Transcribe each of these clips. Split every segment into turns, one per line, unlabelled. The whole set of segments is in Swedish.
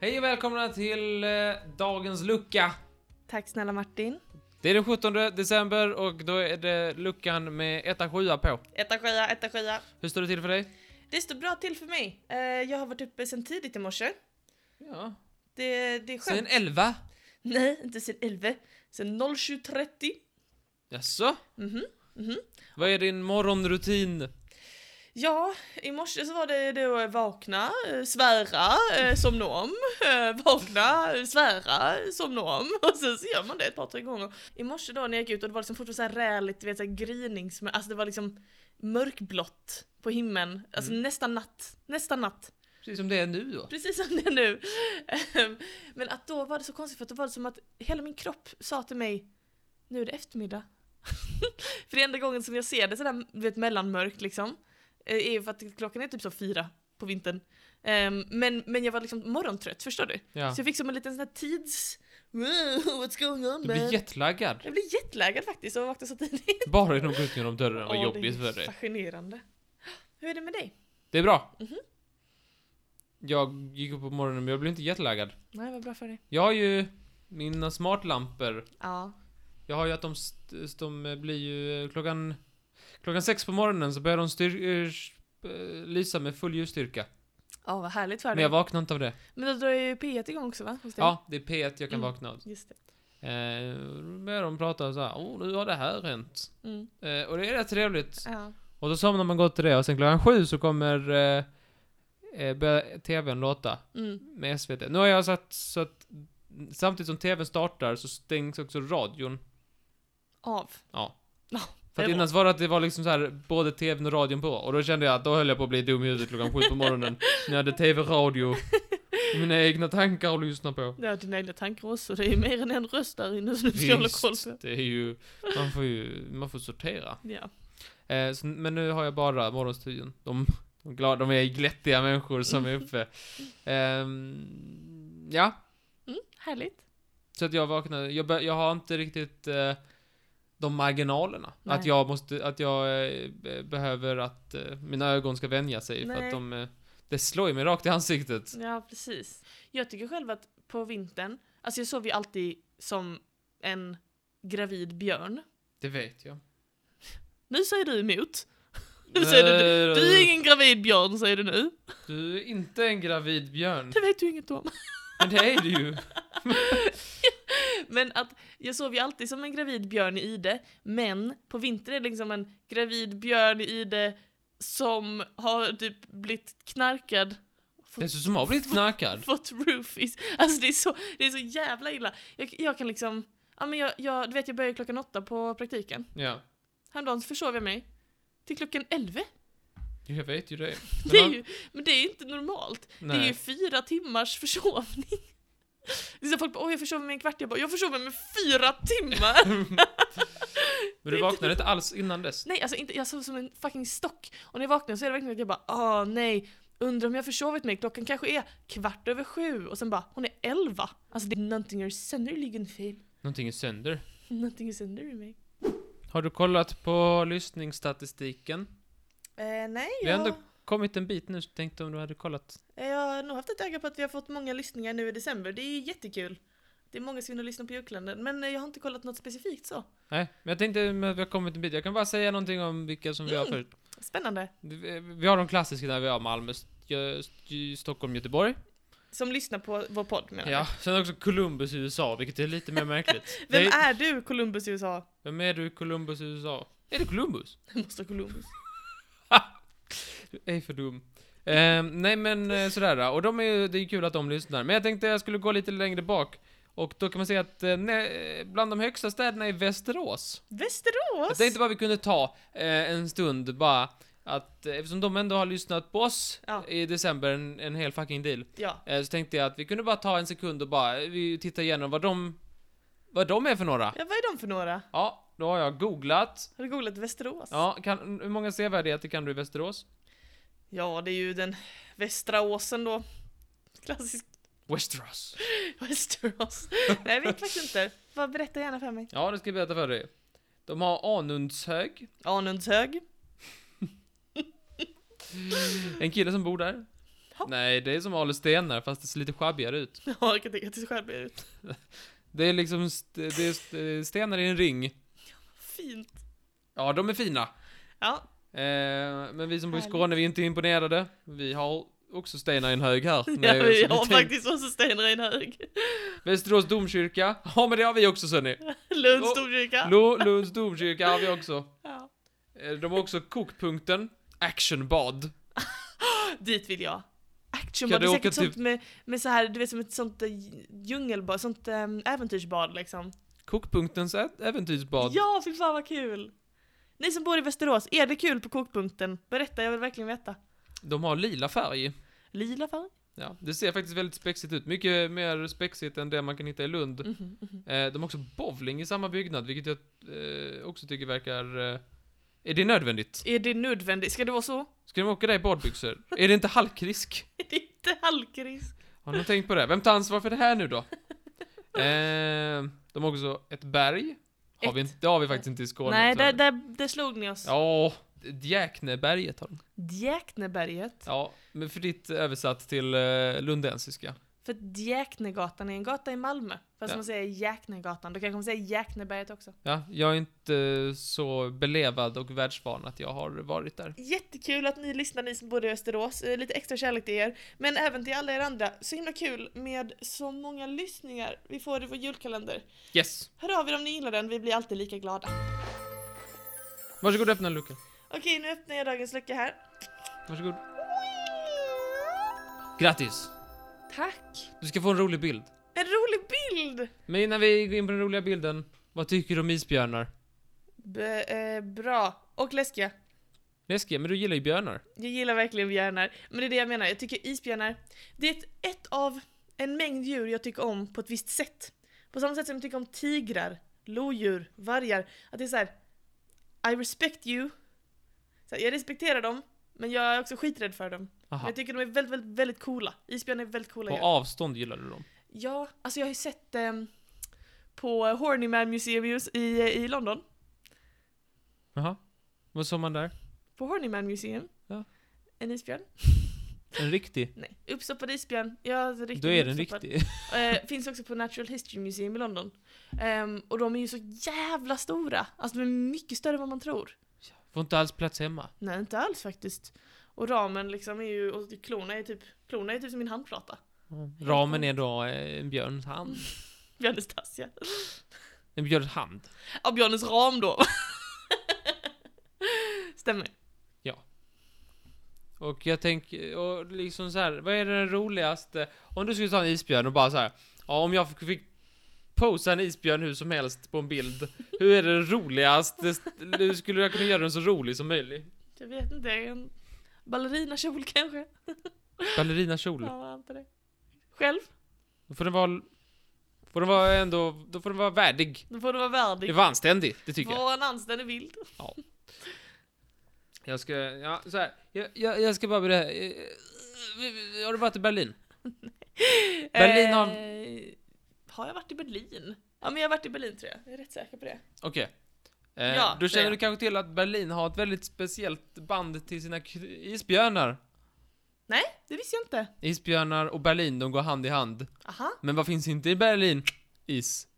Hej och välkomna till eh, dagens lucka.
Tack snälla Martin.
Det är den 17 december och då är det luckan med 1 7 på.
Etta skia, etta skia.
Hur står det till för dig?
Det står bra till för mig. Eh, jag har varit uppe sen tidigt i morse.
Ja,
Det, det är skönt.
sen 11.
Nej, inte sen 11. Sen 07.30.
Jaså?
Mhm. mhm.
Vad är din morgonrutin?
Ja, i morse så var det då vakna, eh, svära, eh, somna om, eh, vakna, eh, svära, somna om och sen så gör man det ett par tre gånger. I morse då när jag gick ut och det var liksom fortfarande så här räligt, du vet såhär grynings, men alltså det var liksom mörkblått på himlen, alltså nästan natt, nästan natt.
Precis som det är nu då.
Precis som det är nu. Ehm, Men att då var det så konstigt för att då var det som att hela min kropp sa till mig Nu är det eftermiddag. för det är enda gången som jag ser det sådär du vet, mellanmörkt liksom. eh, Är ju för att klockan är typ så fyra på vintern. Ehm, Men, men jag var liksom morgontrött, förstår du?
Ja.
Så jag fick som en liten sån här tids... Wow, What's going on
Du blir
man?
jetlaggad.
Jag blev jetlaggad faktiskt och vaknade så tidigt.
Bara genom att gå ut genom dörren var
Åh, det
jobbigt
är
för dig.
fascinerande. Hur är det med dig?
Det är bra.
Mhm.
Jag gick upp på morgonen men jag blev inte jetlaggad.
Nej, vad bra för dig.
Jag har ju mina smartlampor.
Ja.
Jag har ju att de, st- de blir ju eh, klockan... Klockan sex på morgonen så börjar de styr, eh, sp- eh, lysa med full ljusstyrka.
Ja, vad härligt för dig.
Men jag vaknar inte av det.
Men då drar ju P1 igång också va? Hos dig?
Ja, det är P1 jag kan
Mm.
vakna av.
Just det.
Eh, då börjar de prata så här. Åh, nu har det här hänt.
Mm.
Eh, och det är rätt trevligt.
Ja.
Och då somnar man gott till det och sen klockan sju så kommer eh, eh, börjar TVn låta
Mm.
med SVT. Nu har jag satt så att samtidigt som TVn startar så stängs också radion.
Av.
För att
Det är
innan så var det att det var liksom så här både tvn och radion på och då kände jag att då höll jag på att bli dum i huvudet klockan sju på morgonen när jag hade tv, radio och mina egna tankar att lyssna på.
Det är dina egna tankar också. Det är ju mer än en röst där inne som du ska hålla koll på.
det är ju, man får ju, man får sortera.
Ja.
Eh, så, men nu har jag bara morgonstudion. De, de, är glada, de är glättiga människor som är uppe. Ehm, ja,
Mm, härligt.
så att jag vaknade, jag, bör, jag har inte riktigt eh, de marginalerna.
Nej.
Att jag måste, att jag eh, be- behöver att eh, mina ögon ska vänja sig för att
Nej.
de, eh, det slår ju mig rakt i ansiktet.
Ja, precis. Jag tycker själv att på vintern, alltså jag sov ju alltid som en gravid björn.
Det vet jag.
Nu säger du emot. Nu säger du, du är ingen gravid björn säger du
Mm.
nu.
du är inte en gravid björn.
Det vet du inget om.
Men det är du ju.
Men att jag sov ju alltid som en gravid björn i ide, men på vintern är det liksom en gravid björn i ide som har typ blivit knarkad.
Det ser ut som jag har blivit knarkad.
Fått roofies. Alltså det är så, det är så jävla illa. Jag, jag kan liksom, ja men jag, jag, du vet jag börjar klockan åtta på praktiken.
Ja.
Häromdagen så försov jag mig till klockan elva.
Jag vet ju det. Men
Det är
han-
ju, men det är inte normalt. Det är
Nej.
ju fyra timmars försovning. Det är så folk bara, åh jag försov mig en kvart. Jag bara, jag försov mig med fyra timmar.
Men du vaknade inte alls innan dess.
Nej, alltså inte, jag sov som en fucking stock. Och när jag vaknade så är det verkligen att jag bara, ah nej, undrar om jag har försovit mig. Klockan kanske är kvart över sju och sen bara, hon är elva. Alltså det, någonting är sönderligen fel.
Någonting är sönder.
Någonting är sönder i mig.
Har du kollat på lyssningsstatistiken?
Eh, nej,
Vi har
jag,
ändå kommit en bit nu så tänkte om du hade kollat.
jag har nog haft ett öga på att vi har fått många lyssningar nu i december. Det är ju jättekul. Det är många som vill lyssna på julkalendern, men eh, jag har inte kollat något specifikt så.
Nej, men jag tänkte med att vi har kommit en bit. Jag kan bara säga någonting om vilka som vi har
Mm.
förut.
Spännande.
Vi- eh, Vi har de klassiska där vi har Malmö, St- St- Stockholm, Göteborg.
Som lyssnar på vår podd menar
Ja,
jag.
sen har vi också Columbus i USA, vilket är lite mer märkligt.
Vem
Nej,
är du, Columbus i USA?
Vem är du i Columbus i USA? Är det Columbus?
Jag måste ha Columbus.
Du är för dum. Ehm, nej men eh, sådär och de är ju, det är ju kul att de lyssnar. Men jag tänkte jag skulle gå lite längre bak. Och då kan man säga att eh, nä- bland de högsta städerna är Västerås. Jag
Västerås!
tänkte bara vi kunde ta eh, en stund bara att eh, eftersom de ändå har lyssnat på oss
Ja.
i december en, en hel fucking deal.
Ja,
Eh, så tänkte jag att vi kunde bara ta en sekund och bara eh, vi tittar igenom vad de vad de är för några.
ja vad är de för några?
Ja, då har jag googlat.
Har du googlat Västerås?
Ja, kan, hur många sevärdheter kan du i Västerås?
Ja, det är ju den västra åsen då. Klassisk
Westeros.
Västerås. Nej, jag vet faktiskt inte. Vad- Berätta gärna för mig.
Ja, det ska jag berätta för dig. De har Anundshög,
Anundshög.
en kille som bor där.
Ja.
Nej, det är som Ale Stenar fast det ser lite sjabbigare ut.
Ja, jag kan tänka att det själv blir ut.
Det är liksom st- det är st- eh, stenar i en ring.
Fint.
Ja, de är fina.
Ja,
Eh, men vi som bor i
Härligt.
Skåne, vi är inte imponerade. Vi har också stenar i en hög här.
ja
Nej,
vi
så
har
vi tänk-
faktiskt också stenar i en hög.
Västerås domkyrka. Ja, men det har vi också, ser ni.
Lunds
Lo-
domkyrka.
Lo- Lunds domkyrka har vi också.
Ja.
Eh, De har också kokpunkten, actionbad.
Dit vill jag. Action
Kan
bad,
du
det är
åka typ-
säkert
till-
sånt med, med så här, du vet som ett sånt eh, djungelbad, sånt um, äventyrsbad liksom.
Kokpunktens ä- äventyrsbad.
Ja, fy fan vad kul! Ni som bor i Västerås, är det kul på kokpunkten? Berätta, jag vill verkligen veta.
De har lila färg.
Lila färg?
Ja, det ser faktiskt väldigt spexigt ut. Mycket mer spexigt än det man kan hitta i Lund.
Mhm, mhm.
Eh, de har också bowling i samma byggnad, vilket jag eh, också tycker verkar... Eh, är det nödvändigt?
Är det nödvändigt? Ska det vara så?
Ska de åka där i badbyxor? är det inte halkrisk?
Är det inte halkrisk?
Har ni tänkt på det? Vem tar ansvar för det här nu då? Eh, de har också ett berg. Har vi
Ett.
inte, det har vi faktiskt inte i Skåne.
Nej,
tyvärr.
där, där, där slog ni oss.
Ja, Djäkneberget har de.
Djäkneberget.
Ja, men fritt översatt till eh, lundensiska.
För Djäknegatan är en gata i Malmö. Fast
Ja.
man säger Djäknegatan, då kanske man säger Djäkneberget också.
Ja, jag är inte så belevad och världsvan att jag har varit där.
Jättekul att ni lyssnar, ni som bor i Västerås. Eh, Lite extra kärlek till er. Men även till alla er andra. Så himla kul med så många lyssningar vi får i vår julkalender.
Yes!
Hör av er om ni gillar den, vi blir alltid lika glada.
Varsågod öppna luckan.
Okej, nu öppnar jag dagens lucka här.
Varsågod. Grattis!
Tack!
Du ska få en rolig bild.
En rolig bild!
Men innan vi går in på den roliga bilden, vad tycker du om isbjörnar?
B- eh, bra. Och läskiga.
Läskiga, men du gillar ju björnar.
Jag gillar verkligen björnar. Men det är det jag menar, jag tycker isbjörnar, det är ett, ett av en mängd djur jag tycker om på ett visst sätt. På samma sätt som jag tycker om tigrar, lodjur, vargar. Att det är så här. I respect you. Så här, jag respekterar dem, men jag är också skiträdd för dem. Men
Aha.
jag tycker de är väldigt, väldigt, väldigt coola. Isbjörnar är väldigt coola
På
djur.
avstånd gillar du dem.
Ja, alltså jag har ju sett ehm, på Horny Man Museum i, eh, i London.
Jaha. Vad såg man där?
På Horny Man Museum.
Ja.
En isbjörn.
En riktig?
Nej, uppstoppad isbjörn. Ja, riktigt
Då är den
uppstoppad.
riktig.
Eh, finns också på Natural History Museum i London. Ehm, och de är ju så jävla stora. Alltså de är mycket större än vad man tror.
Får inte alls plats hemma.
Nej, inte alls faktiskt. Och ramen liksom är ju, och klorna är typ, klorna är typ som min handflata.
Ramen är då eh, en björns hand.
Björnens tass ja.
En björns hand.
Ja, björnens ram då. Stämmer.
Och jag tänker, och liksom så här, vad är den roligaste? Om du skulle ta en isbjörn och bara så här, ja om jag fick posa en isbjörn hur som helst på en bild, hur är det roligaste? Hur skulle jag kunna göra den så rolig som möjligt?
Jag vet inte, en ballerinakjol kanske?
Ballerinakjol.
Ja, jag antar det. Själv?
Då får den vara, får den vara ändå, då får den vara värdig.
Då får du vara
Det
värdig.
var anständig, det tycker jag.
Var en anständig bild.
Jag ska, ja så här, jag, jag, jag ska bara berätta. eh, eh, Har du varit i Berlin? Berlin har-
Eh, har jag varit i Berlin? Ja men jag har varit i Berlin tror jag, jag är rätt säker på det.
Okej. Eh,
Ja,
då
det
känner
är
du
jag.
kanske till att Berlin har ett väldigt speciellt band till sina k- isbjörnar.
Det visste jag inte.
Isbjörnar och Berlin, de går hand i hand.
Aha.
Men vad finns inte i Berlin? Is.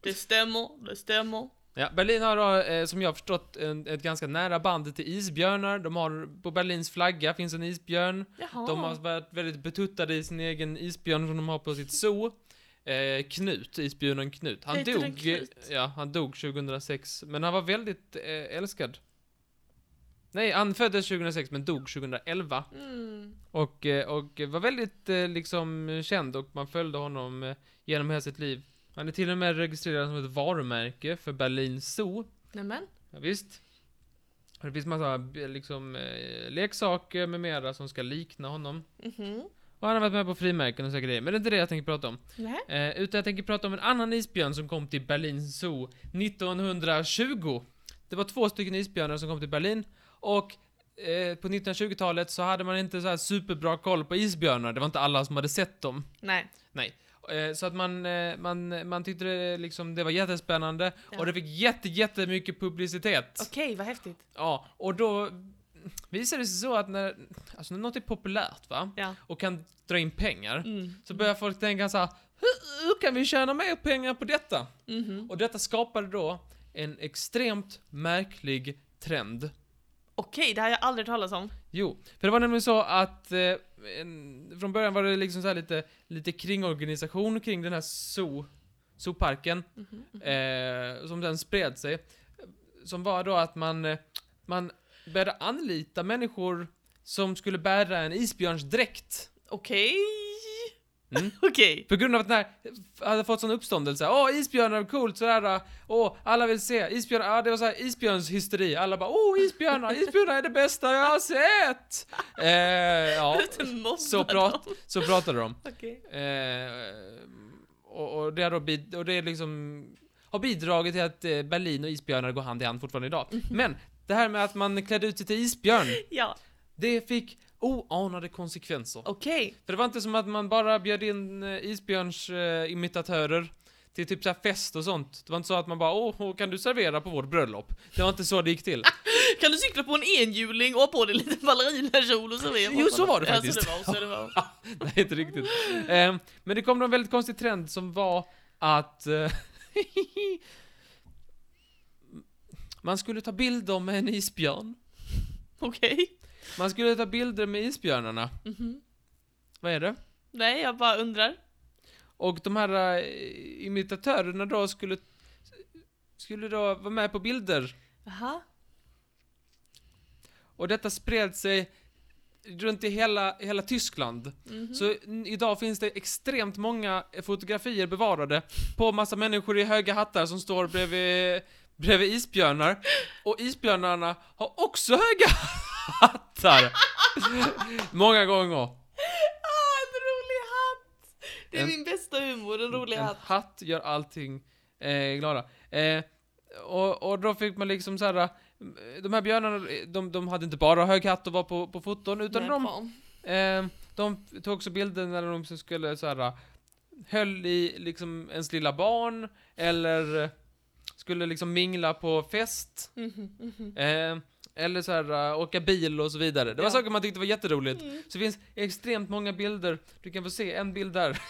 Det stämmer, det stämmer.
Ja, Berlin har då, eh, som jag har förstått, en, ett ganska nära band till isbjörnar. De har, på Berlins flagga finns en isbjörn.
Jaha.
De har varit väldigt betuttade i sin egen isbjörn som de har på sitt zoo. Eh, Knut, isbjörnen Knut. Han
Heter den
dog,
Knut?
ja, han dog 2006, men han var väldigt eh, älskad. Nej, han föddes 2006 men dog 2011.
Mm.
Och, eh, och var väldigt eh, liksom känd och man följde honom eh, genom hela sitt liv. Han är till och med registrerad som ett varumärke för Berlin Zoo.
Nämen.
Ja, visst. Och Det finns massa eh, liksom, eh, leksaker med mera som ska likna honom.
Mhm.
Och han har varit med på frimärken och så grejer, men det är inte det jag tänker prata om.
Nej.
Eh, utan jag tänker prata om en annan isbjörn som kom till Berlin Zoo 1920. Det var två stycken isbjörnar som kom till Berlin och eh, på 1920-talet så hade man inte så här superbra koll på isbjörnar. Det var inte alla som hade sett dem.
Nej.
Eh, så att man, eh, man, man tyckte det, liksom, det var jättespännande
Ja.
och det fick jätte, jättemycket publicitet.
Okej, vad häftigt.
Ja, och då visar det sig så att när, alltså när något är populärt va,
Ja.
och kan dra in pengar,
Mm.
så börjar folk tänka så här, hur, hur kan vi tjäna mer pengar på detta?
Mhm.
Och detta skapade då en extremt märklig trend.
Okej, det här har jag aldrig talat om.
Jo, för det var nämligen så att eh, en, från början var det liksom så här lite, lite kringorganisation kring den här zoo, zooparken,
Mhm.
eh, som den spred sig. Som var då att man, eh, man började anlita människor som skulle bära en isbjörnsdräkt.
Okej.
Mm.
Okej.
På grund av att den här hade fått sån uppståndelse. Åh, isbjörnar, coolt, sådär. Åh, alla vill se. Isbjörnar, ja det var såhär isbjörnshysteri. Alla bara, åh isbjörnar, isbjörnar är det bästa jag har sett! Eh, ja, så, prat, så pratade de.
Okej.
Eh, och, och det har då bid- och det är liksom har bidragit till att eh, Berlin och isbjörnar går hand i hand fortfarande idag. Men det här med att man klädde ut sig till isbjörn,
Ja,
det fick oanade konsekvenser.
okej.
För det var inte som att man bara bjöd in eh, isbjörns eh, imitatörer till typ såhär fest och sånt. Det var inte så att man bara åh, åh, kan du servera på vårt bröllop? Det var inte så det gick till.
Kan du cykla på en enhjuling och ha på dig lite ballerinakjol och så vidare?
Jo, så var det
Ja,
faktiskt.
så det var, så det var.
Nej, inte riktigt. Ehm, men det kom då en väldigt konstig trend som var att eh, man skulle ta bilder med en isbjörn.
Okej.
Man skulle ta bilder med isbjörnarna.
Mhm.
Vad är det?
Nej, jag bara undrar.
Och de här eh, imitatörerna då skulle skulle då vara med på bilder.
Jaha.
Och detta spred sig runt i hela, hela Tyskland.
Mhm.
Så n- idag finns det extremt många fotografier bevarade på massa människor i höga hattar som står bredvid, bredvid isbjörnar. Och isbjörnarna har också höga hattar. Många gånger.
Ah, en rolig hatt! Det är
En-
min bästa humor, en rolig
en
hatt.
hatt gör allting eh, glada. Eh, och, och då fick man liksom så här. eh, De här björnarna, eh, de, de hade inte bara hög hatt och var på, på foton, utan
Nej,
de
bra.
Eh, de tog också bilder när de så skulle så här höll i liksom ens lilla barn eller eh, skulle liksom mingla på fest
Mhm, mhm.
eh, eller så här eh, åka bil och så vidare. Det var
Ja.
saker man tyckte var jätteroligt.
Mm.
Så det finns extremt många bilder. Du kan få se en bild där.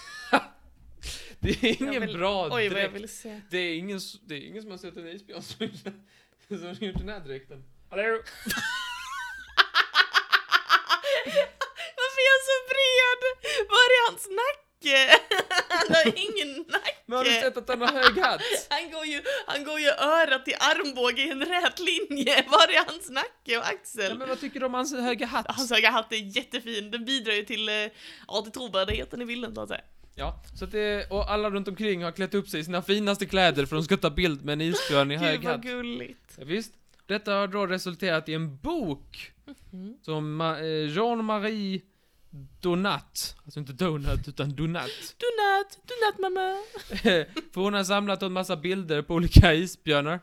det är
Jag
ingen
vill-
bra
Oj, vad jag
dräkt.
ville se.
Det är ingen s- det är ingen som har sett en isbjörn som som har gjort den här dräkten. Hallå?
Varför är han så bred? Var är hans nacke? Han har ingen nacke.
Men har du sett att han har hög hatt?
Han går ju, han går ju örat till armbåge i en rät linje. Var är hans nacke och
Ja,
axel?
men vad tycker du om hans höga hatt?
Hans höga hatt är jättefin. Den bidrar ju till, eh, ja, till trovärdigheten i bilden så att säga.
Ja, så att det, och alla runt omkring har klätt upp sig i sina finaste kläder för de ska ta bild med en isbjörn i hög
Gud vad
hatt.
gulligt.
Ja, visst. Detta har då resulterat i en bok
Mhm.
som Ma- eh, Jean-Marie Donat, alltså inte Donut utan Donat.
Donut, donut mamma.
För hon har samlat en massa bilder på olika isbjörnar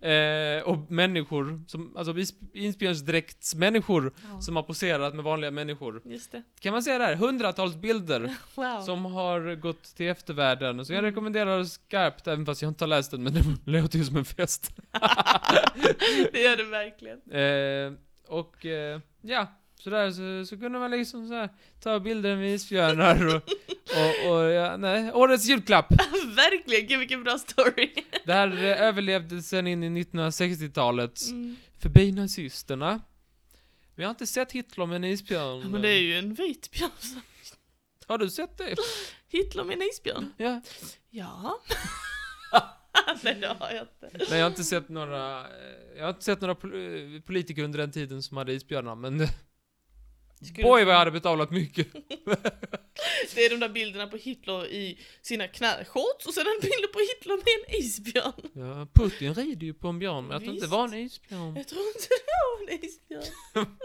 eh, och människor, som, alltså is- isbjörnsdräktsmänniskor som har poserat med vanliga människor.
Just det.
Kan man säga det här? Hundratals bilder.
Wow.
Som har gått till eftervärlden, så jag
Mm.
rekommenderar skarpt även fast jag inte har läst den men det låter ju som en fest.
Det gör det verkligen.
Eh, och eh, ja, sådär så, så kunde man liksom så här, ta bilder med isbjörnar och, och, och ja, nej, årets julklapp!
verkligen, gud vilken bra story.
Det här eh, överlevde sen in i 1960-talet,
Mm.
förbi nazisterna. Men jag har inte sett Hitler med en isbjörn.
Ja, men det är ju en vit björn. som-
Har du sett det?
Hitler med en isbjörn.
Ja.
Ja. Nej det har jag inte.
Nej, jag har inte sett några, eh, jag har inte sett några pol- eh, politiker under den tiden som hade isbjörnar, men
Skulle-
Boy vad jag hade betalat mycket.
Det är de där bilderna på Hitler i sina knäshorts och sen en bild på Hitler med en isbjörn.
Ja, Putin rider ju på en björn, men jag tror inte det
Visst.
var en isbjörn.
Jag tror inte det var en isbjörn.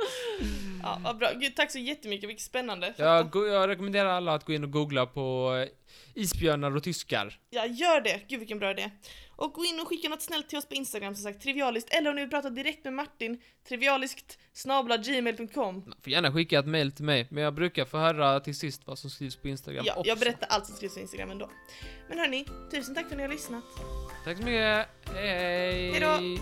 Ja, vad bra. Gud, tack så jättemycket, vilket spännande.
Jag, go- jag rekommenderar alla att gå in och googla på eh, isbjörnar och tyskar.
Ja, gör det! Gud vilken bra idé. Och gå in och skicka något snällt till oss på Instagram som sagt, trivialiskt, eller om ni vill prata direkt med Martin, trivialiskt snabla gmail.com.
Man får gärna skicka ett mail till mig, men jag brukar få höra till sist vad som skrivs på Instagram
Ja,
också.
jag berättar allt som skrivs på Instagram ändå. Men hörni, tusen tack för att ni har lyssnat.
Tack så mycket, hej!
Hejdå.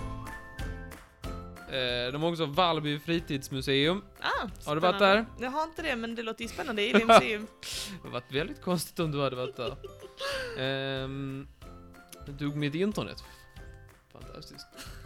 Eh, de har också Vallby fritidsmuseum.
Ah,
Har du varit
spännande.
där?
Jag har inte det, men det låter ju spännande. I museum.
Det hade varit väldigt konstigt om du hade varit där. Ehm, det dog mitt internet. Fantastiskt.